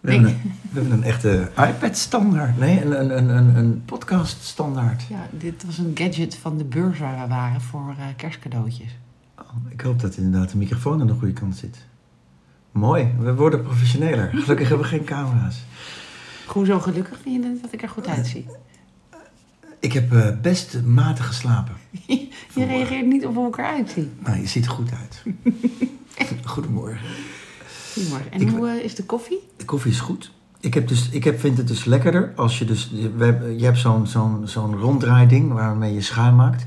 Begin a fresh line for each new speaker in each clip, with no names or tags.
We hebben, een, we hebben een echte iPad-standaard. Nee, een, een, een, een, een podcast-standaard.
Ja, dit was een gadget van de beurs waar we waren voor eh, kerstcadeautjes.
Oh, ik hoop dat inderdaad de microfoon aan de goede kant zit. Mooi, we worden professioneler. Gelukkig hebben we geen camera's.
Goed zo gelukkig vind je het dat ik er goed uitzie.
Ik heb eh, best matig geslapen.
Je reageert niet op hoe ik eruit zie.
Nou, je ziet er goed uit. Goedemorgen.
Humor. En
Ik-
hoe eh, is de koffie?
De koffie is goed. Ik, heb dus, ik heb, vind het dus lekkerder als je dus... We, hebben- je hebt zo'n zo'n zo'n ronddraaiding waarmee je schuim maakt.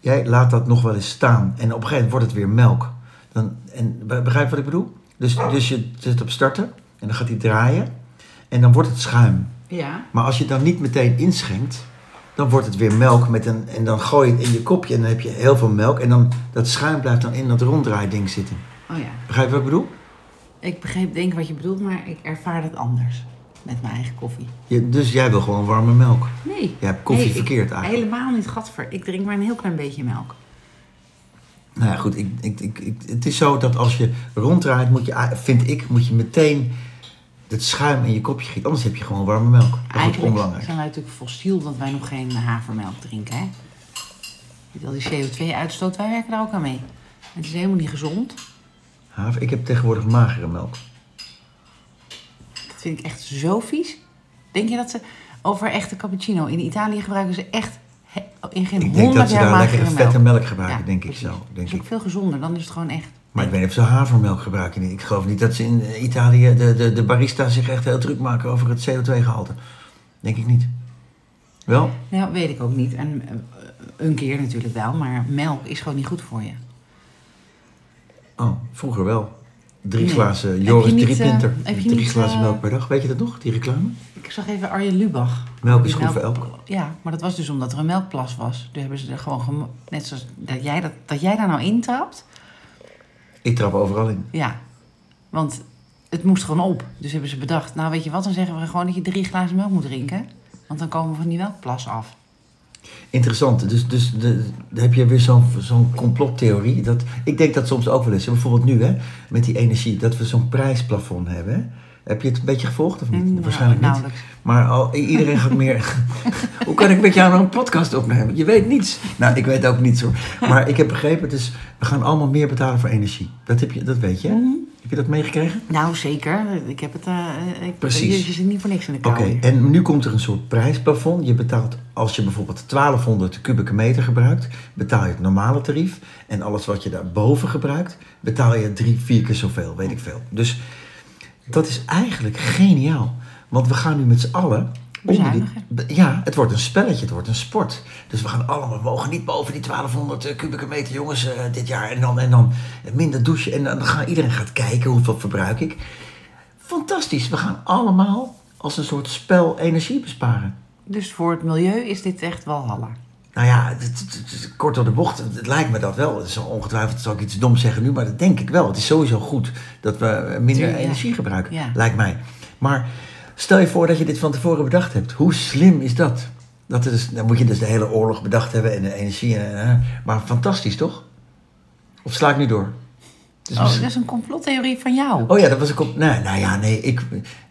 Jij laat dat nog wel eens staan. En op een gegeven moment wordt het weer melk. Dan, en, be- begrijp je wat ik bedoel? Dus, dus je zet op starten en dan gaat hij draaien. En dan wordt het schuim.
Ja.
Maar als je het dan niet meteen inschenkt, dan wordt het weer melk. Met een, en dan gooi je het in je kopje en dan heb je heel veel melk. En dan dat schuim blijft dan in dat ronddraaiding zitten.
Oh ja.
Begrijp je wat ik bedoel?
Ik begreep denk ik wat je bedoelt, maar ik ervaar dat anders. Met mijn eigen koffie.
Je, dus jij wil gewoon warme melk.
Nee.
Jij hebt koffie
Nee, ik-
verkeerd eigenlijk.
Helemaal niet, gadver. Ik drink maar een heel klein beetje melk.
Nou ja, goed. Ik, ik, ik, ik- het is zo dat als je ronddraait, moet je, a- vind ik, moet je meteen het schuim in je kopje gieten. Anders heb je gewoon warme melk. Dat is
Eigenlijk
onbelangrijk.
zijn wij natuurlijk fossiel dat wij nog geen havermelk drinken, hè? Met al die CO2-uitstoot, wij werken daar ook aan mee. Het is helemaal niet gezond.
Haver, ik heb tegenwoordig magere melk.
Dat vind ik echt zo vies. Denk je dat ze over echte cappuccino... In Italië gebruiken ze echt he- in
Ik
geen
denk dat
honderd
ze
jaar
daar lekker
magere
vette
melk.
melk gebruiken,
Ja,
denk ik
precies.
zo.
Dat
Denk
is
ik.
ook veel gezonder, dan is het gewoon echt...
Maar ik weet niet of ze havermelk gebruiken. Ik geloof niet dat ze in Italië de, de, de barista zich echt heel druk maken over het CO2-gehalte. Denk ik niet. Wel?
Nou, weet ik ook niet. En eh, een keer natuurlijk wel, maar melk is gewoon niet goed voor je.
Oh, vroeger wel. Drie
Nee. Heb
glazen
je
Joris
niet,
Drie
eh,
Pinter.
heb je
Drie
niet,
glazen
eh,
melk per dag. Weet je dat nog, die reclame?
Ik zag even Arjen Lubach.
Melk is
Die
goed voor elk.
Ja, maar dat was dus omdat er een melkplas was. Toen hebben ze er gewoon... gemo- Net zoals dat jij, dat, dat jij daar nou intrapt.
Ik trap overal in.
Ja, want het moest gewoon op. Dus hebben ze bedacht, nou weet je wat, dan zeggen we gewoon dat je drie glazen melk moet drinken. Want dan komen we van die melkplas af.
Interessant. Dus, dus de, dan heb je weer zo'n zo'n complottheorie. Dat, ik denk dat soms ook wel eens. Bijvoorbeeld nu, hè, met die energie, dat we zo'n prijsplafond hebben. hè. Heb je het een beetje gevolgd of niet?
Nou,
Waarschijnlijk niet.
nauwelijks.
Maar al, i- iedereen gaat meer. Hoe kan ik met jou nou een podcast opnemen? Je weet niets. Nou, ik weet ook niets hoor. Maar ik heb begrepen, dus we gaan allemaal meer betalen voor energie. Dat, heb je, dat weet je. hè?
Mhm.
Heb je dat meegekregen?
Nou zeker, ik heb het... eh, ik,
Precies.
Je, je zit niet voor niks in de kou.
Oké,
hier.
en nu komt er een soort prijsplafond. Je betaalt, als je bijvoorbeeld 1200 kubieke meter gebruikt, betaal je het normale tarief. En alles wat je daarboven gebruikt, betaal je drie, vier keer zoveel, weet ik veel. Dus dat is eigenlijk geniaal. Want we gaan nu met z'n allen... onder die-
Bezuinigen.
be- ja, het wordt een spelletje, het wordt een sport. Dus we gaan allemaal, we mogen niet boven die 1200 kubieke meter, jongens, eh, dit jaar. En dan, en dan minder douchen. En dan gaan, iedereen gaat kijken, hoeveel verbruik ik. Fantastisch, we gaan allemaal als een soort spel energie besparen.
Dus voor het milieu is dit echt walhalla.
Nou ja, het, het- het- het- kort door de bocht, het, het lijkt me dat wel. Het zal ongetwijfeld zal ik iets doms zeggen nu, maar dat denk ik wel. Het is sowieso goed dat we eh, minder
Ja.
energie gebruiken,
Ja.
lijkt mij. Maar stel je voor dat je dit van tevoren bedacht hebt. Hoe slim is dat? dat is, dan moet je dus de hele oorlog bedacht hebben en de energie. En, en- maar fantastisch, toch? Of sla ik nu door? Het is
Oh,
misschien-
dat is een complottheorie van jou.
Dus Oh ja, dat was ik op. Nou, nou ja, nee. Ik,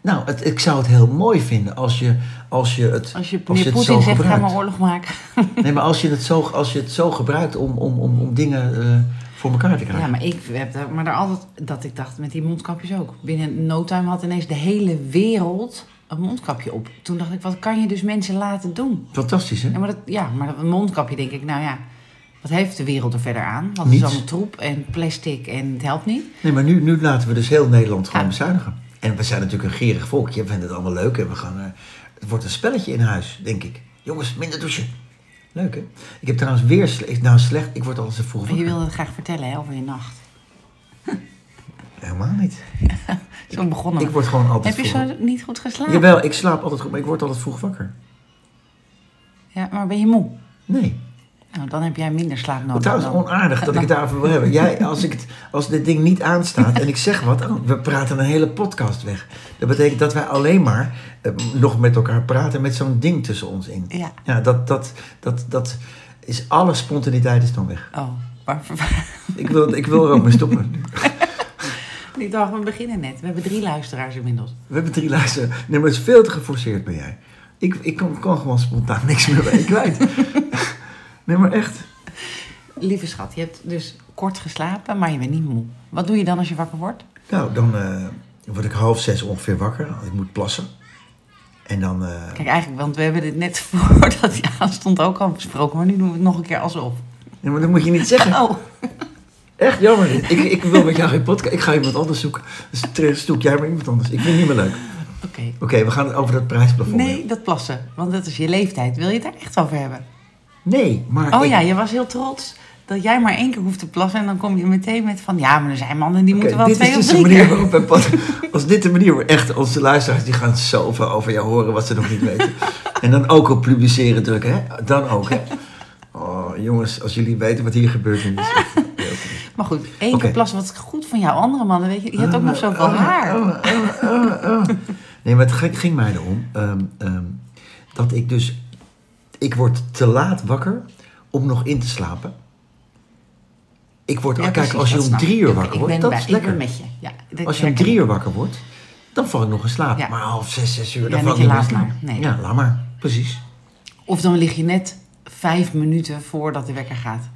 nou, het, ik zou het heel mooi vinden als je, als je het.
Als je
als
meneer
het
Poetin
zo
zegt, ga
gebruikt.
maar oorlog maken.
Nee, maar als je het zo, als je het zo gebruikt om, om, om, om dingen eh, voor elkaar te krijgen.
Ja, maar ik heb daar, maar daar altijd dat ik dacht met die mondkapjes ook. Binnen no time had ineens de hele wereld een mondkapje op. Toen dacht ik, wat kan je dus mensen laten doen?
Fantastisch, hè?
Ja, maar dat, ja, maar dat mondkapje denk ik, nou ja, wat heeft de wereld er verder aan? Want
Niets.
het is allemaal troep en plastic en het helpt niet.
Nee, maar nu, nu laten we dus heel Nederland gewoon
Ja.
bezuinigen. En we zijn natuurlijk een gierig volk. Je vindt het allemaal leuk en we gaan. eh, het wordt een spelletje in huis, denk ik. Jongens, minder douchen. Leuk, hè? Ik heb trouwens weer slecht. Nou, slecht. Ik word al te vroeg
En je
wakker.
wilde het graag vertellen hè, over je nacht.
Helemaal niet.
Zo begonnen we.
Ik word gewoon altijd
Heb je
vroeg
zo niet goed geslapen?
Jawel, ik slaap altijd goed, maar ik word altijd vroeg wakker.
Ja, maar ben je moe?
Nee.
Nou, dan heb jij minder slaap
Oh,
nodig.
Trouwens,
dan-
onaardig dat ik het daarover wil hebben. Jij, als, ik het, als dit ding niet aanstaat en ik zeg wat, oh, we praten een hele podcast weg. Dat betekent dat wij alleen maar eh, nog met elkaar praten met zo'n ding tussen ons in.
Ja.
Ja, dat, dat, dat, dat is, alle spontaniteit is dan weg.
Oh, maar...
Ik wil, ik wil er ook mee stoppen.
Ik dacht, we beginnen net. We hebben drie luisteraars inmiddels.
We hebben drie luisteren. Nee, maar het is veel te geforceerd ben jij. Ik, ik kan, kan gewoon spontaan niks meer bij je kwijt. nee, maar echt.
Lieve schat, je hebt dus kort geslapen, maar je bent niet moe. Wat doe je dan als je wakker wordt?
Nou, dan eh, word ik half zes ongeveer wakker. Ik moet plassen. En dan... eh,
Kijk, eigenlijk, want we hebben dit net voordat hij aanstond ook al besproken. Maar nu doen we het nog een keer alsof.
nee, maar dat moet je niet zeggen.
Oh,
Echt jammer. dit. Ik, ik wil met jou geen podcast. Ik ga iemand anders zoeken. Dus ter- zoek jij maar iemand anders. Ik vind het niet meer leuk. Oké,
oké.
we gaan het over dat prijsplafond.
Nee,
hebben.
dat plassen. Want dat is je leeftijd. Wil je het daar echt over hebben?
Nee, maar...
Oh
ik-
ja, je was heel trots dat jij maar één keer hoeft te plassen. En dan kom je meteen met van... Ja, maar er zijn mannen die
Oké,
moeten wel
dit
twee
is
of
dus
drie
de manier
keer.
waarop wij pod- Als dit de manier wordt, echt, onze luisteraars die gaan zoveel over jou horen wat ze nog niet weten. En dan ook op publiceren drukken, hè? Dan ook, hè? Oh, jongens, als jullie weten wat hier gebeurt, dan is het heel goed.
Maar goed, één
Oké.
keer plassen. Wat is goed van jou. Andere mannen, weet je. Je hebt ook nog zoveel
Oh,
haar.
oh, oh, oh, oh. Nee, maar het ging- ging mij erom ehm, ehm, dat ik dus. Ik word te laat wakker om nog in te slapen. Ik word,
Ja,
kijk,
precies,
als je
dat
om
snap
drie
ik.
uur
Ik-
wakker
ik
wordt,
ben
dat
bij-
is lekker.
Ik ben met je. Ja, dat
Als je om
herken
drie
ik.
uur wakker wordt, dan val ik nog in slaap.
Ja.
Maar half zes, zes uur,
Ja,
dan
dat
val ik
je
niet meer in
laat
slaap.
maar. Nee.
Ja, laat maar. Precies.
Of dan lig je net vijf minuten voordat de wekker gaat.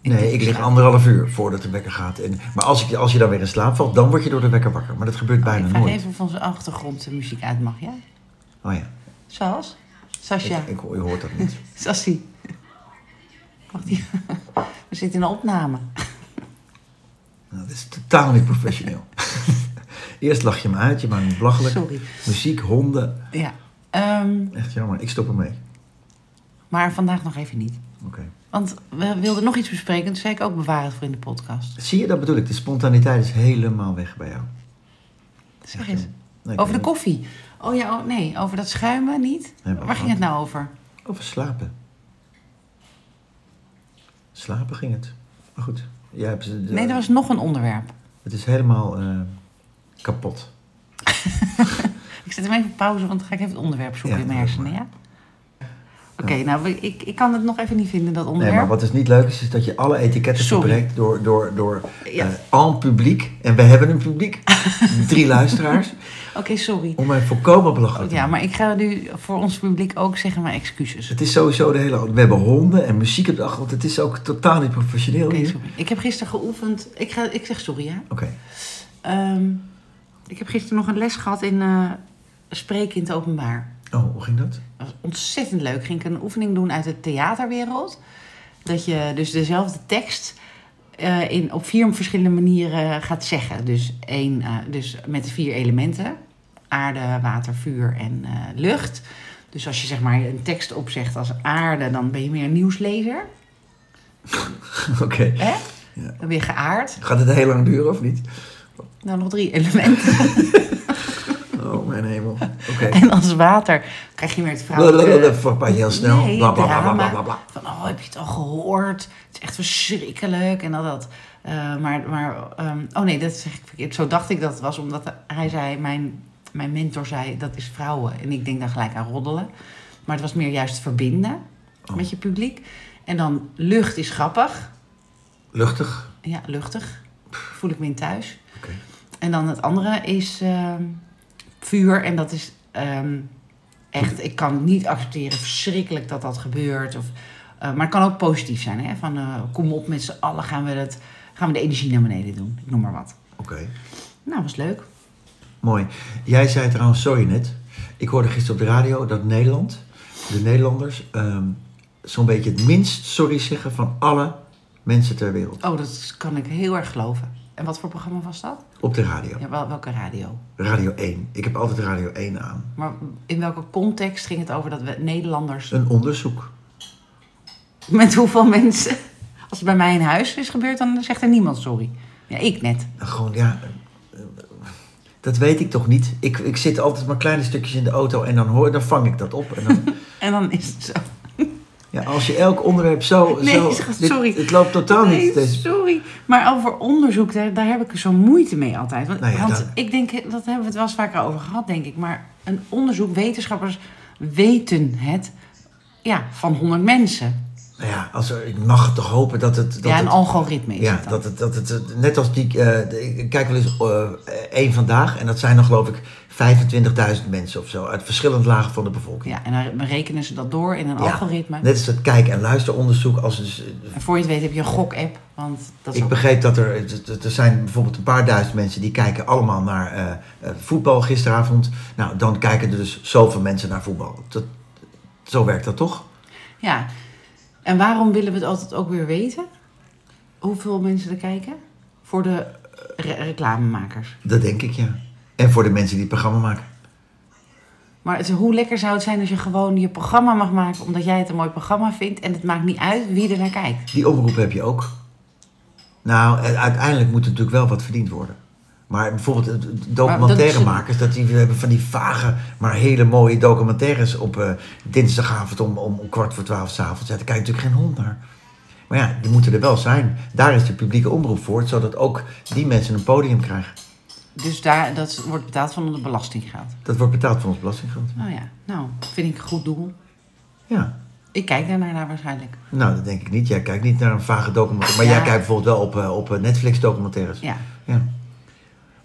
In
Nee,
dit
ik lig
geval.
anderhalf uur voordat de wekker gaat. En, maar als, ik, als je dan weer in slaap valt, dan word je door de wekker wakker. Maar dat gebeurt
Oh, Ik
bijna
vraag
nooit.
even van zijn achtergrond de muziek uit, mag ja?
Oh ja,
Zoals?
ik,
Sascha.
ik, je hoort dat niet.
Sassi. Wacht hier. We zitten in een opname.
Nou, dat is totaal niet professioneel. Eerst lach je me uit, je maakt me belachelijk.
Sorry.
Muziek, honden.
Ja. Ehm,
Echt jammer, ik stop ermee.
maar vandaag nog even niet.
Oké.
Want we wilden nog iets bespreken. Toen zei ik ook bewaar het voor in de podcast.
Zie je, dat bedoel ik. De spontaniteit is helemaal weg bij jou.
Zeg eens.
Nee, ik
Over de
weet niet.
koffie. Oh ja, oh, nee. Over dat schuimen niet.
we
Waar
gehad.
ging het nou over?
Over slapen. Slapen ging het. Maar goed. Jij hebt, eh,
Nee, er was nog een onderwerp.
Het is helemaal eh, kapot.
Ik zet hem even op pauze, want dan ga ik even het onderwerp zoeken
Ja,
in mijn
doe
hersenen,
maar.
ja? Oké, nou, we- ik, ik kan het nog even niet vinden, dat
Nee,
onderwerp.
maar wat is niet leuk is, is dat je alle etiketten
Sorry.
verbreekt door, door, door
Ja.
eh, al publiek. En we hebben een publiek. drie luisteraars.
Oké, sorry.
Om mij volkomen belachelijk te
Ja, maar ik ga nu voor ons publiek ook zeggen mijn excuses.
Het is sowieso de hele. We hebben honden en muziek op de achtergrond. Het is ook totaal niet professioneel
Oké,
hier. Oké.
sorry. Ik heb gisteren geoefend... Ik, ga, ik zeg sorry, ja? Ehm, ik heb gisteren nog een les gehad in eh, spreken in het openbaar.
Oh, hoe ging dat?
Dat was ontzettend leuk. Ging ik een oefening doen uit de theaterwereld. Dat je dus dezelfde tekst eh, in, op vier verschillende manieren gaat zeggen. Dus, één, eh, dus met de vier elementen. Aarde, water, vuur en eh, lucht. Dus als je zeg maar een tekst opzegt als aarde, dan ben je meer een nieuwslezer.
Oké.
Hè?
Ja.
Dan ben je geaard.
Gaat het heel lang duren of niet?
Nou, nog drie elementen.
Oh, mijn hemel. Oké.
En als water krijg je weer het
Blablabla,
vrouwelijke...
Voor heel snel.
eh, Nee,
bla, bla, bla, bla,
drama.
bla, bla, bla.
Van, oh, heb je het al gehoord? Het is echt verschrikkelijk en al dat. Eh, maar, maar ehm, oh nee, dat zeg ik verkeerd. Zo dacht ik dat het was, omdat hij zei, mijn, mijn mentor zei, dat is vrouwen. En ik denk dan gelijk aan roddelen. Maar het was meer juist verbinden
Oh.
met je publiek. En dan lucht is grappig.
Luchtig.
Ja, luchtig. Voel ik me in thuis.
Oké.
En dan het andere is ehm, vuur. En dat is ehm, echt, ik kan het niet accepteren, verschrikkelijk dat dat gebeurt. Of, eh, maar het kan ook positief zijn. Hè? Van eh, kom op met z'n allen, gaan we, het, gaan we de energie naar beneden doen. Ik noem maar wat.
Oké.
Nou, was leuk.
Mooi. Jij zei trouwens, sorry net. Ik hoorde gisteren op de radio dat Nederland, de Nederlanders, ehm, zo'n beetje het minst sorry zeggen van alle mensen ter wereld.
Oh, dat kan ik heel erg geloven. En wat voor programma was dat?
Op de radio.
Ja, wel, welke radio?
Radio 1. Ik heb altijd Radio 1 aan.
Maar in welke context ging het over dat we Nederlanders...
Een onderzoek.
Met hoeveel mensen... Als het bij mij in huis is gebeurd, dan zegt er niemand sorry. Ja, ik net.
Nou, Gewoon, ja. eh, eh, Dat weet ik toch niet. Ik, ik zit altijd maar kleine stukjes in de auto en dan, hoor, dan vang ik dat op. En dan,
En dan is het zo.
ja, als je elk onderwerp zo.
Nee,
zo
schat,
dit-
sorry.
het loopt totaal
Nee,
niet. Dus, Deze,
sorry. Maar over onderzoek, daar, daar heb ik zo'n moeite mee altijd. Want,
Nou ja,
want
dan-
ik denk, dat hebben we het wel eens vaker over gehad, denk ik. Maar een onderzoek, wetenschappers weten het ja, van 100 mensen.
Nou ja, als er, ik mag toch hopen dat het... Dat
ja, een
het-
algoritme is
Ja,
het dan.
dat het, dat het, het- net als die, eh, de- ik kijk wel eens eh, één vandaag en dat zijn dan geloof ik 25.000 mensen of zo uit verschillende lagen van de bevolking.
Ja, en dan rekenen ze dat door in een
Ja.
algoritme.
Net als het kijk- en luisteronderzoek. Als dus, eh,
En voor je het weet heb je een gok-app. Want dat is
ik
ook-
begreep dat er, d- d- er zijn bijvoorbeeld een paar duizend mensen die kijken allemaal naar eh, eh, voetbal gisteravond. Nou, dan kijken er dus zoveel mensen naar voetbal. Dat, zo werkt dat toch?
Ja. En waarom willen we het altijd ook weer weten? Hoeveel mensen er kijken? Voor de re- reclamemakers.
Dat denk ik, ja. En voor de mensen die het programma maken.
Maar het, hoe lekker zou het zijn als je gewoon je programma mag maken... omdat jij het een mooi programma vindt... en het maakt niet uit wie er naar kijkt.
Die oproep heb je ook. Nou, en uiteindelijk moet er natuurlijk wel wat verdiend worden. Maar bijvoorbeeld eh, documentairemakers, dat die we hebben van die vage, maar hele mooie documentaires op eh, dinsdagavond om, om, om kwart voor twaalf s'avonds. Ja, daar kijkt natuurlijk geen hond naar. Maar ja, die moeten er wel zijn. Daar is de publieke omroep voor, zodat ook die mensen een podium krijgen.
Dus daar, dat wordt betaald van ons belastinggeld.
Dat wordt betaald van ons belastinggeld.
Nou ja, nou, vind ik een goed doel.
Ja.
Ik kijk daarnaar naar waarschijnlijk.
Nou, dat denk ik niet. Jij kijkt niet naar een vage documentaire. Maar
Ja.
jij kijkt bijvoorbeeld wel op, eh, op eh, Netflix-documentaires.
Ja.
Ja.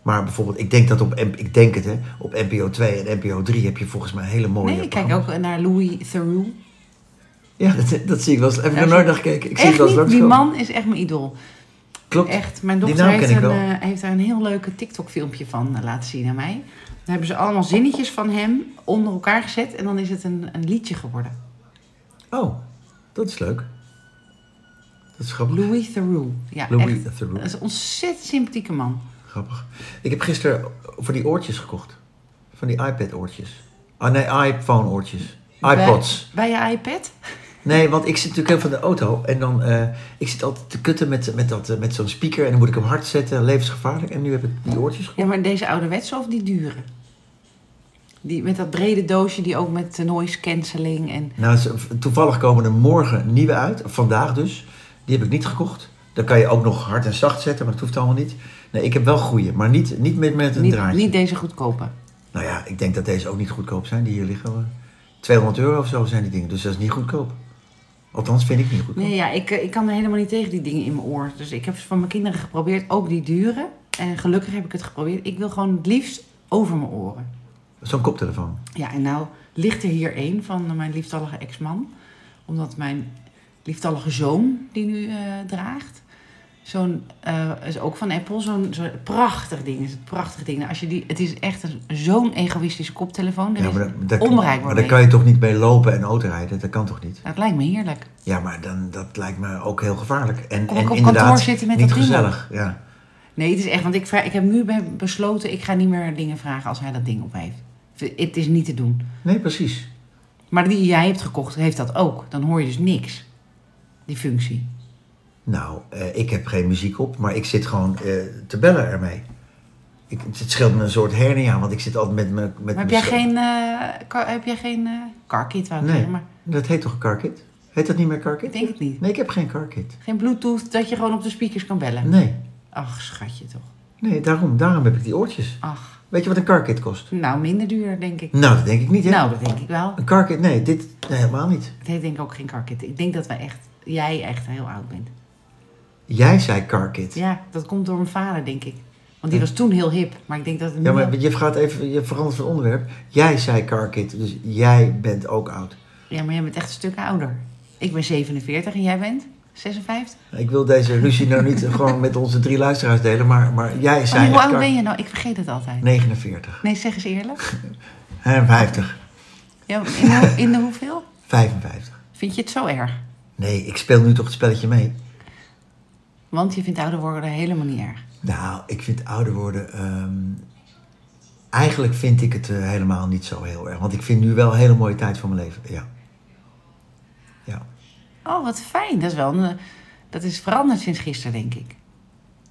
Maar bijvoorbeeld, ik denk dat op, M- ik denk het, hè, op NPO 2 en NPO 3 heb je volgens mij hele mooie.
Nee, ik kijk
programma's.
ook naar Louis Theroux.
Ja, dat, dat zie ik wel eens. Heb ik
Daar
nog
is-
nooit naar gekeken. Ik zie het
Echt
wel eens
niet, die
langskomen.
man is echt mijn idool.
Klopt.
Echt, mijn
Die
dochter
naam
heeft,
ken ik
een,
wel.
eh, heeft daar een heel leuke TikTok-filmpje van eh, laten zien aan mij. Daar hebben ze allemaal zinnetjes van hem onder elkaar gezet en dan is het een, een liedje geworden. eh,
Oh, dat is leuk. Dat is grappig.
Louis Theroux. Ja,
Louis
echt.
Theroux.
Dat is een ontzettend sympathieke man.
Grappig. Ik heb gisteren voor die oortjes gekocht. Van die iPad-oortjes. Ah nee, iPhone-oortjes. iPods.
Bij, bij je iPad?
Nee, want ik zit natuurlijk heel van de auto. En dan, eh, ik zit altijd te kutten met, met, dat, eh, met zo'n speaker. En dan moet ik hem hard zetten, levensgevaarlijk. En nu heb ik die oortjes gekocht.
Ja, maar deze ouderwetse of die dure? Die, met dat brede doosje die ook met eh, noise cancelling en...
Nou, ze- toevallig komen er morgen nieuwe uit. Vandaag dus. Die heb ik niet gekocht. Dan kan je ook nog hard en zacht zetten, maar dat hoeft allemaal niet. Nee, ik heb wel goede, maar niet, niet met, met een
Niet,
draadje.
niet deze goedkope.
Nou ja, ik denk dat deze ook niet goedkoop zijn, die hier liggen. hoor. 200 euro of zo zijn die dingen, dus dat is niet goedkoop. Althans vind ik niet goedkoop.
Nee, ja, ik, eh, ik kan er helemaal niet tegen die dingen in mijn oor. Dus ik heb ze van mijn kinderen geprobeerd, ook die dure. En gelukkig heb ik het geprobeerd. Ik wil gewoon het liefst over mijn oren.
Zo'n koptelefoon.
Ja, en nou ligt er hier één van eh, mijn lieftallige ex-man. Omdat mijn lieftallige zoon, die nu eh, draagt... Zo'n, eh, is ook van Apple, zo'n zo'n prachtig ding is het, prachtig ding. Nou, Als je die, het is echt een- zo'n egoïstische koptelefoon, daar
Ja,
is
maar daar- daar-
onbereikbaar
maar daar
mee.
kan je toch niet mee lopen en autorijden? Dat kan toch niet?
Nou, het lijkt me heerlijk.
Ja, maar dan, dat lijkt me ook heel gevaarlijk. En,
Kom
en
ik op
inderdaad,
kantoor zitten met
niet
dat ding op?
gezellig. Ja.
Nee, het is echt, want ik, vraag, ik heb nu be- besloten, ik ga niet meer dingen vragen als hij dat ding op heeft. V- Het is niet te doen.
Nee, precies.
Maar die jij hebt gekocht, heeft dat ook. Dan hoor je dus niks. Die functie.
Nou, eh, ik heb geen muziek op, maar ik zit gewoon eh, te bellen ermee. Ik, het scheelt me een soort hernia, want ik zit altijd met mijn... Met
Maar heb
mijn
jij
scho-
geen, eh, car, heb jij geen eh, car kit, wou ik
Dus, Nee.
zeggen, maar
Dat heet toch CarKit? Heet dat niet meer CarKit?
ik denk het niet.
Nee, ik heb geen CarKit.
Geen bluetooth dat je gewoon op de speakers kan bellen.
Nee,
Ach, schatje toch.
nee daarom, daarom heb ik die oortjes.
Ach,
Weet je wat een CarKit kost?
nou minder duur, denk ik.
Nou, dat denk ik niet, hè?
Nou, dat denk ik wel.
Een CarKit, nee, dit nee, helemaal niet.
Het heeft denk ik ook geen car kit. Ik denk dat wij echt, jij echt heel oud bent.
Jij zei CarKit.
Ja, dat komt door mijn vader, denk ik. Want die was toen heel hip, maar ik denk dat het nu
Ja,
al-
maar je, gaat even, je verandert van onderwerp. Jij zei CarKit, dus jij bent ook oud.
Ja, maar jij bent echt een stuk ouder. Ik ben 47 en jij bent 56.
Ik wil deze ruzie nou niet gewoon met onze drie luisteraars delen, maar, maar jij
Maar
zei...
Oh, hoe oud
Car-
ben je nou? Ik vergeet het altijd.
49.
Nee, zeg eens eerlijk.
En 50.
Ja, in, de, in de hoeveel?
55.
Vind je het zo erg?
Nee, ik speel nu toch het spelletje mee.
Want je vindt ouder worden helemaal niet erg.
Nou, ik vind ouder worden... ehm, eigenlijk vind ik het eh, helemaal niet zo heel erg. Want ik vind nu wel een hele mooie tijd van mijn leven. Ja. Ja.
Oh, wat fijn. Dat is wel een, eh, dat is veranderd sinds gisteren, denk ik.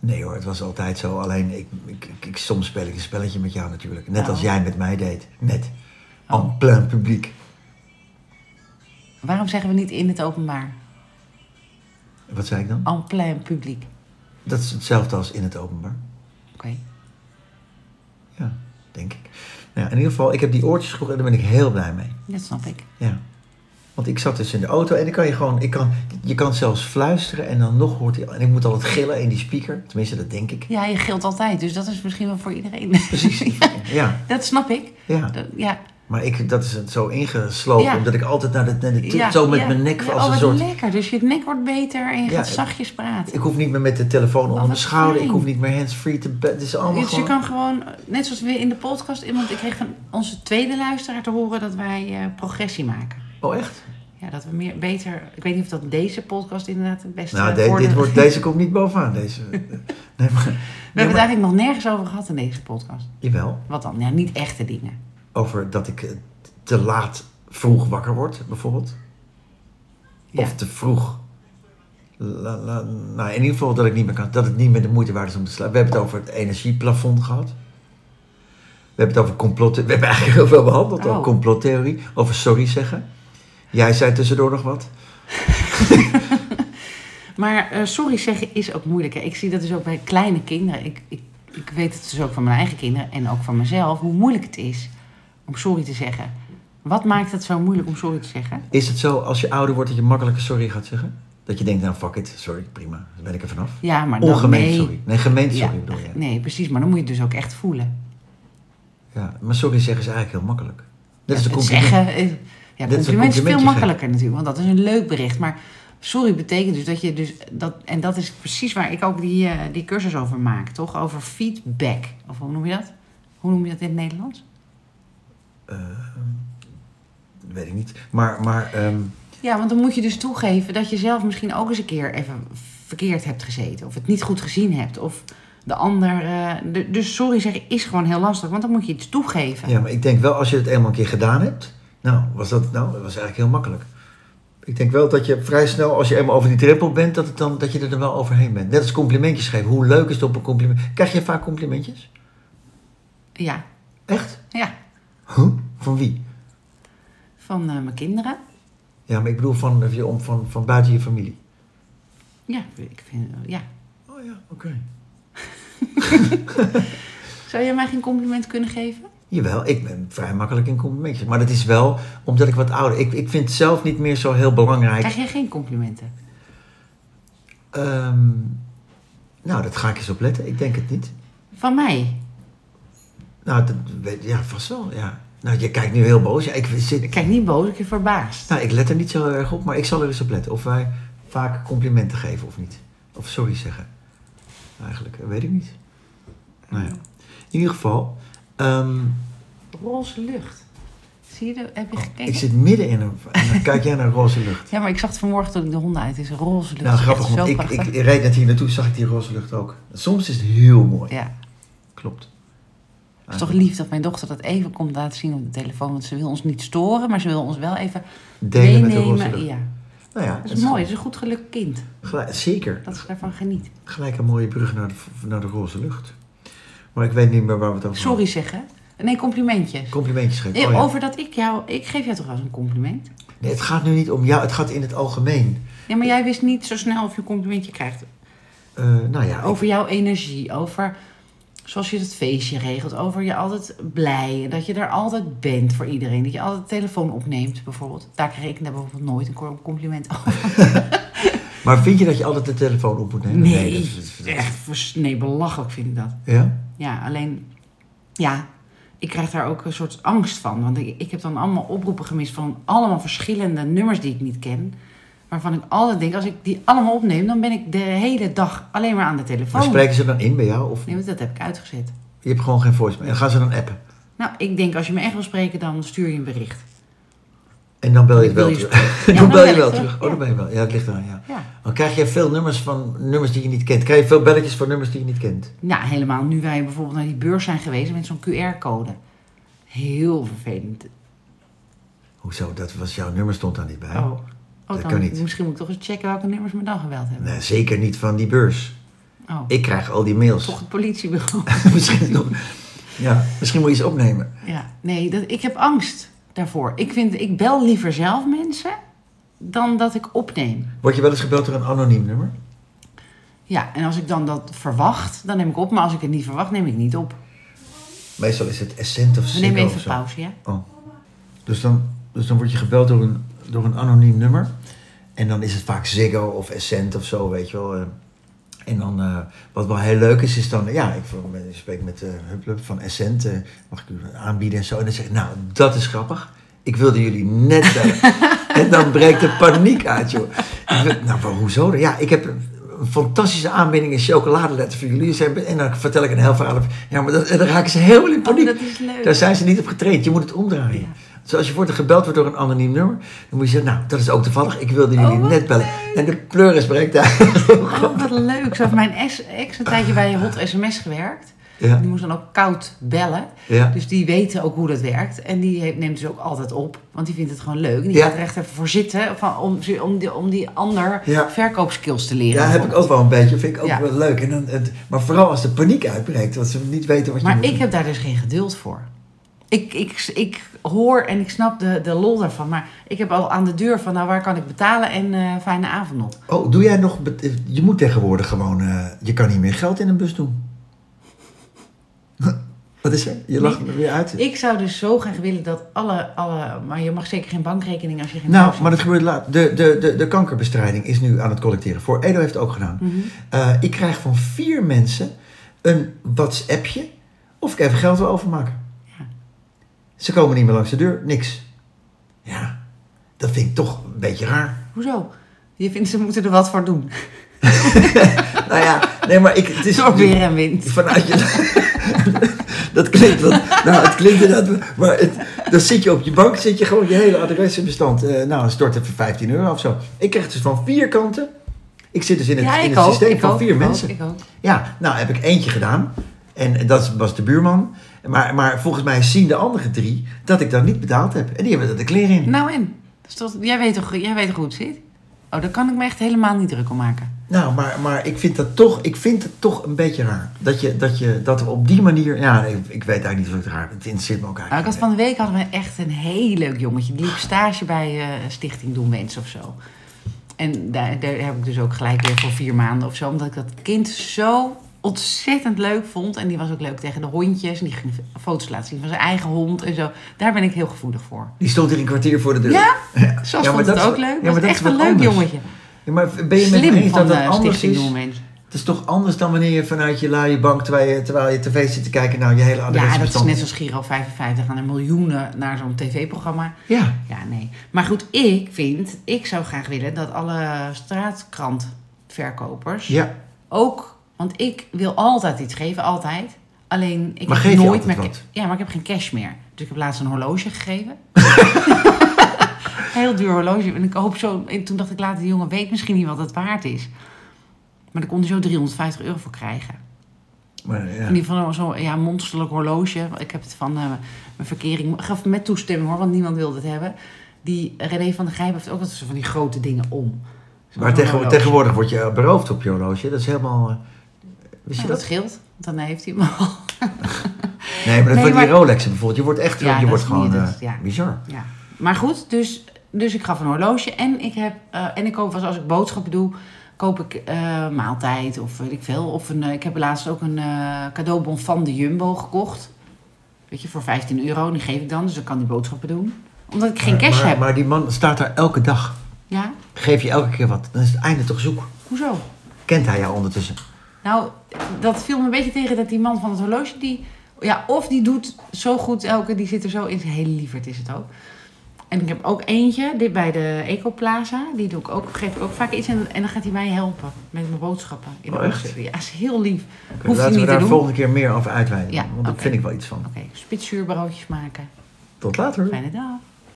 Nee hoor, het was altijd zo. Alleen, ik, ik, ik, ik- soms speel ik een spelletje met jou natuurlijk. Net
Oh.
als jij met mij deed. Net. En plein publiek.
Waarom zeggen we niet in het openbaar?
Wat zei ik dan?
En plein publiek.
Dat is hetzelfde als in het openbaar.
Oké.
Ja, denk ik. Nou, ja, in ieder geval, ik heb die oortjes gekocht en daar ben ik heel blij mee.
Dat snap ik.
Ja. Want ik zat dus in de auto en dan kan je gewoon, ik kan, je kan zelfs fluisteren en dan nog hoort hij. En ik moet altijd gillen in die speaker, tenminste dat denk ik.
Ja, je gilt altijd, dus dat is misschien wel voor iedereen.
Precies.
Ja,
Ja,
dat snap ik.
ja.
Dat- Ja,
Maar ik, dat is het zo ingeslopen,
Ja.
omdat ik altijd naar de, naar de
ja,
zo met
ja.
mijn nek
Ja,
als
oh,
een
wat
soort.
lekker. Dus je nek wordt beter en je
Ja,
gaat
het-
zachtjes praten.
Ik hoef niet meer met de telefoon onder
Oh, wat
mijn schouder, ik
fijn.
hoef niet meer hands-free te bed. Het is allemaal
Dus je
gewoon.
kan gewoon, net zoals we in de podcast, iemand, ik kreeg van onze tweede luisteraar te horen dat wij eh, progressie maken.
Oh, echt?
Ja, dat we meer, beter, ik weet niet of dat deze podcast inderdaad het beste eh,
Nou, de-
voor
dit
de-
wordt, deze komt niet bovenaan. Deze. Nee, maar,
We
nee,
hebben het
maar-
eigenlijk nog nergens over gehad in deze podcast.
Jawel.
Wat dan? Ja, niet echte dingen.
Over dat ik eh, te laat vroeg wakker word, bijvoorbeeld.
Ja.
Of te vroeg. La- la- nou, in ieder geval dat, ik niet meer kan, dat het niet meer de moeite waard is om te slapen. We hebben het over het energieplafond gehad. We hebben het over complotten. We hebben eigenlijk heel veel behandeld.
Oh.
Over complottheorie. Over sorry zeggen. Jij zei tussendoor nog wat.
Maar eh, sorry zeggen is ook moeilijk. Hè? Ik zie dat dus ook bij kleine kinderen. Ik, ik, ik weet het dus ook van mijn eigen kinderen en ook van mezelf, hoe moeilijk het is om sorry te zeggen. Wat maakt het zo moeilijk om sorry te zeggen?
Is het zo als je ouder wordt dat je makkelijker sorry gaat zeggen? Dat je denkt, nou fuck it, sorry, prima. Dan ben ik er vanaf.
Ja, maar dan
Ongemeend
nee.
sorry. Nee, gemeend sorry
Ja,
bedoel je.
Nee, precies. Maar dan moet je het dus ook echt voelen.
Ja, maar sorry zeggen is eigenlijk heel makkelijk. Net als
Ja,
een compliment.
het zeggen. eh, Ja,
is een
compliment is veel
complimentje
makkelijker natuurlijk. Want dat is een leuk bericht. Maar sorry betekent dus dat je dus... Dat, en dat is precies waar ik ook die, eh, die cursus over maak, toch? Over feedback. Of hoe noem je dat? Hoe noem je dat in het Nederlands?
Eh, ehm, Weet ik niet. Maar, maar ehm,
Ja, want dan moet je dus toegeven dat je zelf misschien ook eens een keer even verkeerd hebt gezeten. Of het niet goed gezien hebt. Of de ander... eh, de- dus sorry zeggen is gewoon heel lastig. Want dan moet je iets toegeven.
Ja, maar ik denk wel als je het eenmaal een keer gedaan hebt. Nou, was dat nou? Dat was eigenlijk heel makkelijk. Ik denk wel dat je vrij snel, als je eenmaal over die drempel bent, dat, het dan, dat je er dan wel overheen bent. Net als complimentjes geven. Hoe leuk is het op een compliment? Krijg je vaak complimentjes?
Ja.
Echt?
ja.
Huh? Van wie?
Van eh, mijn kinderen.
Ja, maar ik bedoel van, van, van, van buiten je familie.
Ja, ik vind, ja.
Oh ja, oké.
Zou jij mij geen compliment kunnen geven?
Jawel, ik ben vrij makkelijk in complimentjes. Maar dat is wel omdat ik wat ouder... Ik, ik vind het zelf niet meer zo heel belangrijk.
Krijg jij geen complimenten?
Ehm, nou, dat ga ik eens opletten. Ik denk het niet.
Van mij?
Nou, dat weet, ja, vast wel, ja. Nou, je kijkt nu heel boos. Ja, ik,
Ik
zit,
kijk niet boos, ik ben verbaasd.
nou, ik let er niet zo heel erg op, maar ik zal er eens op letten. Of wij vaak complimenten geven of niet. Of sorry zeggen. Eigenlijk, eh, weet ik niet. Nou ja. In ieder geval, ehm,
Roze lucht. Zie je, dat? heb je gekeken?
Oh, ik zit midden in een... en dan kijk jij naar roze lucht.
Ja, maar ik zag het vanmorgen toen ik de honden uit is. Roze lucht.
Nou,
Is
grappig,
echt
want
zo
ik, ik
prachtig.
reed net hier naartoe, zag ik die roze lucht ook. Soms is het heel mooi.
Ja,
Klopt.
het is toch
Ah.
lief dat mijn dochter dat even komt laten zien op de telefoon. Want ze wil ons niet storen, maar ze wil ons wel even
Delen met de
meenemen.
roze lucht.
ja,
Nou ja,
dat
het
is mooi. Dat is een goed gelukkig kind.
gelijk- zeker.
Dat ze daarvan geniet.
Gelijk een mooie brug naar de, naar de roze lucht. Maar ik weet niet meer waar we het over hadden.
Sorry zeggen. Nee, complimentjes.
Complimentjes geven.
Nee,
Oh ja.
Over dat ik jou... Ik geef jou toch wel eens een compliment?
Nee, het gaat nu niet om jou, het gaat in het algemeen.
Ja, maar jij wist niet zo snel of je een complimentje krijgt.
Eh, nou ja, ik-
Over jouw energie, over zoals je het feestje regelt, over je altijd blij, dat je er altijd bent voor iedereen, dat je altijd de telefoon opneemt bijvoorbeeld. Daar kreeg ik bijvoorbeeld nooit een compliment over.
maar vind je dat je altijd de telefoon op moet nemen?
Nee, Oh.
dat is- dat is-
echt, vers- nee, belachelijk vind ik dat.
Ja?
Ja, alleen, ja, ik krijg daar ook een soort angst van, want ik, ik heb dan allemaal oproepen gemist van allemaal verschillende nummers die ik niet ken. Waarvan ik altijd denk, als ik die allemaal opneem, dan ben ik de hele dag alleen maar aan de
Maar
telefoon.
spreken ze dan in bij jou? Of
Nee, want dat heb ik uitgezet.
je hebt gewoon geen voicemail? En gaan ze dan appen?
Nou, ik denk als je me echt wil spreken, dan stuur je een bericht.
En dan bel je het
Wil
wel
je
terug.
Ja,
dan
dan
bel je
bel
wel
ik
terug.
terug,
Oh, dan
ja.
ben je wel. Ja, het ligt eraan, ja.
Ja.
Dan krijg je veel nummers van nummers die je niet kent. Krijg je veel belletjes van nummers die je niet kent.
Nou, helemaal nu wij bijvoorbeeld naar die beurs zijn geweest met zo'n QR-code. Heel vervelend.
Hoezo? Dat was jouw nummer stond daar niet bij.
Oh,
Dat
dan,
kan niet.
Misschien moet ik toch eens checken welke nummers me dan gebeld hebben.
Nee, zeker niet van die beurs.
Oh,
Ik krijg al die mails.
toch het politiebureau.
misschien, nog, ja, misschien moet je iets opnemen.
ja, nee, dat, ik heb angst daarvoor. Ik, vind, ik bel liever zelf mensen dan dat ik opneem.
Word je wel eens gebeld door een anoniem nummer?
Ja, en als ik dan dat verwacht, dan neem ik op. Maar als ik het niet verwacht, neem ik niet op.
Meestal is het Essent of
We
Ziggo
nemen
of
even
zo.
pauze, ja?
Oh. Dus, dan, dus dan word je gebeld door een door een anoniem nummer. En dan is het vaak Ziggo of Essent of zo, weet je wel. eh. En dan, eh, wat wel heel leuk is, is dan, ja, ik, ik spreek met eh Huplub van Essent, eh, mag ik u wat aanbieden en zo. En dan zeg ik, nou, dat is grappig. Ik wilde jullie net bellen. en dan breekt de paniek uit, joh. Ik wil- nou, maar hoezo? dan? Ja, ik heb een een fantastische aanbieding in chocoladeletter voor jullie. Ze hebben- En dan vertel ik een heel verhaal. over- Ja, maar dat, en dan raken ze helemaal in
Oh,
paniek.
dat is leuk.
Daar zijn ze niet op getraind. Je moet het omdraaien.
Ja.
Dus als je wordt gebeld wordt door een anoniem nummer, dan moet je zeggen, nou, dat is ook toevallig. Ik wilde jullie
Oh, wat
net bellen. En de pleuris breekt uit.
Oh, wat leuk. Zo heeft mijn ex, ex een tijdje bij Hot SMS gewerkt.
ja,
Die moest dan ook koud bellen.
ja.
Dus die weten ook hoe dat werkt. En die heeft- neemt dus ook altijd op. Want die vindt het gewoon leuk. En die
Ja.
gaat er echt even voor zitten. Van, om, om, die, om die ander
Ja.
verkoopskills te leren.
Ja, heb ik ook wel een beetje. Vind ik ook
Ja.
wel leuk. En dan, het, maar vooral als de paniek uitbreekt, dat ze niet weten wat je
Maar
moet
ik
doen.
heb daar dus geen geduld voor. Ik, ik, ik hoor en ik snap de, de lol daarvan. Maar ik heb al aan de deur van, nou waar kan ik betalen en eh, fijne avond nog.
Oh, doe jij nog... bet- Je moet tegenwoordig gewoon... eh, je kan niet meer geld in een bus doen. wat is er? Je lacht me weer uit.
Ik zou dus zo graag willen dat alle, alle... Maar je mag zeker geen bankrekening als je geen
Nou,
bank
maar
hebt.
dat gebeurt laat. De, de, de, de kankerbestrijding is nu aan het collecteren. Voor Edo heeft het ook gedaan.
Mhm.
Eh, ik krijg van vier mensen een WhatsAppje of ik even geld wil overmaken.
Ja.
Ze komen niet meer langs de deur, niks. Ja, dat vind ik toch een beetje raar.
Hoezo? Je vindt ze moeten er wat voor doen.
nou ja, nee, maar ik, het is
Door weer en wind.
vanuit je. dat klinkt wat. Nou, het klinkt inderdaad. Maar het, dan zit je op je bank, zit je gewoon je hele adresbestand. eh nou, stort even 15 euro of zo. Ik krijg het dus van vier kanten. Ik zit dus in het,
ja,
in
ik
het
ook.
systeem
ik
van
ook,
vier
ik
mensen.
Ook, ik ook.
Ja, nou heb ik eentje gedaan. En dat was de buurman. Maar, maar volgens mij zien de andere drie dat ik dat niet betaald heb. En die hebben er de kleren in.
Nou en? Dus dat- jij, weet toch, jij weet toch hoe het zit? Oh, daar kan ik me echt helemaal niet druk om maken.
Nou, maar, maar ik, vind dat toch, ik vind het toch een beetje raar. Dat, je, dat, je, dat we op die manier... Ja, nee, ik weet eigenlijk niet of ik het raar vind. Het interesseert me ook
Nou, ik
eigenlijk
had van de week hadden we echt een heel leuk jongetje. Die liep stage bij eh, Stichting Doen Wens of zo. En daar, daar heb ik dus ook gelijk weer voor vier maanden of zo. Omdat ik dat kind zo ontzettend leuk vond. En die was ook leuk tegen de hondjes. En die ging foto's laten zien van zijn eigen hond en zo. Daar ben ik heel gevoelig voor.
Die stond hier een kwartier voor de deur.
Ja, Sas
maar
vond
dat
het
is
ook
wat- ja,
leuk.
maar
was
dat is
echt een
wat
leuk
anders.
jongetje.
Ja, maar ben je met me
Slim
eens
van
dat dat
de
anders
Stichting
is?
Doen Wens.
Het is toch anders dan wanneer je vanuit je laaie bank... terwijl je, terwijl je tv zit te kijken naar je hele
Ja, dat is
adresbestand.
net zoals Giro 55 aan er miljoenen naar zo'n tv-programma.
Ja,
Ja, nee. Maar goed, ik vind, ik zou graag willen dat alle straatkrantverkopers
ja.
ook, want ik wil altijd iets geven, altijd. Alleen ik
Maar
heb
geef je
nooit
altijd
meer.
wat?
Ja, maar ik heb geen cash meer. Dus ik heb laatst een horloge gegeven. Heel duur horloge. En ik hoop zo. En toen dacht ik later, die jongen weet misschien niet wat het waard is. Maar daar kon hij zo 350 euro voor krijgen.
Maar, ja.
In ieder geval zo'n ja, monsterlijk horloge. Ik heb het van eh, mijn verkering, gaf met toestemming hoor, want niemand wilde het hebben. Die eh, René van der Grijp heeft ook altijd zo van die grote dingen om. Zo'n
Maar tegen-
horloge.
tegenwoordig word je beroofd op je horloge. Dat is helemaal. eh, Wist
Ja,
je
dat
dat?
scheelt, want dan heeft hij hem al.
Nee, maar dat
Nee,
van die
maar-
Rolexen bijvoorbeeld. Je wordt echt.
Ja,
je
dat
wordt
is
gewoon.
niet
eh,
het, ja.
Bizar.
Ja. Maar goed, dus, dus ik gaf een horloge. En ik, heb, eh, en ik koop, was als ik boodschappen doe, koop ik eh, maaltijd of weet ik veel. Of een, eh, ik heb laatst ook een eh, cadeaubon van de Jumbo gekocht. Weet je, voor 15 euro. Die geef ik dan, dus dan kan die boodschappen doen. Omdat ik geen
Maar-
cash
maar,
heb.
Maar die man staat daar elke dag.
Ja,
Geef je elke keer wat. Dan is het einde toch zoek.
hoezo?
Kent hij jou ondertussen?
Nou, dat viel me een beetje tegen dat die man van het horloge, die, ja, of die doet zo goed elke, die zit er zo in. Zijn hele lieverd is het ook. En ik heb ook eentje, dit bij de Ecoplaza, die doe ik ook, geef ik ook vaak iets en, en dan gaat hij mij helpen met mijn boodschappen. In de
Oh, echt?
ochtend. Ja, is heel lief.
Oké,
Hoeft hij
laten we
niet te
daar de
doen.
volgende keer meer over uitweiden.
Ja,
want daar
oké.
vind ik wel iets van.
Oké, spitsuurbroodjes maken.
Tot later.
Fijne dag.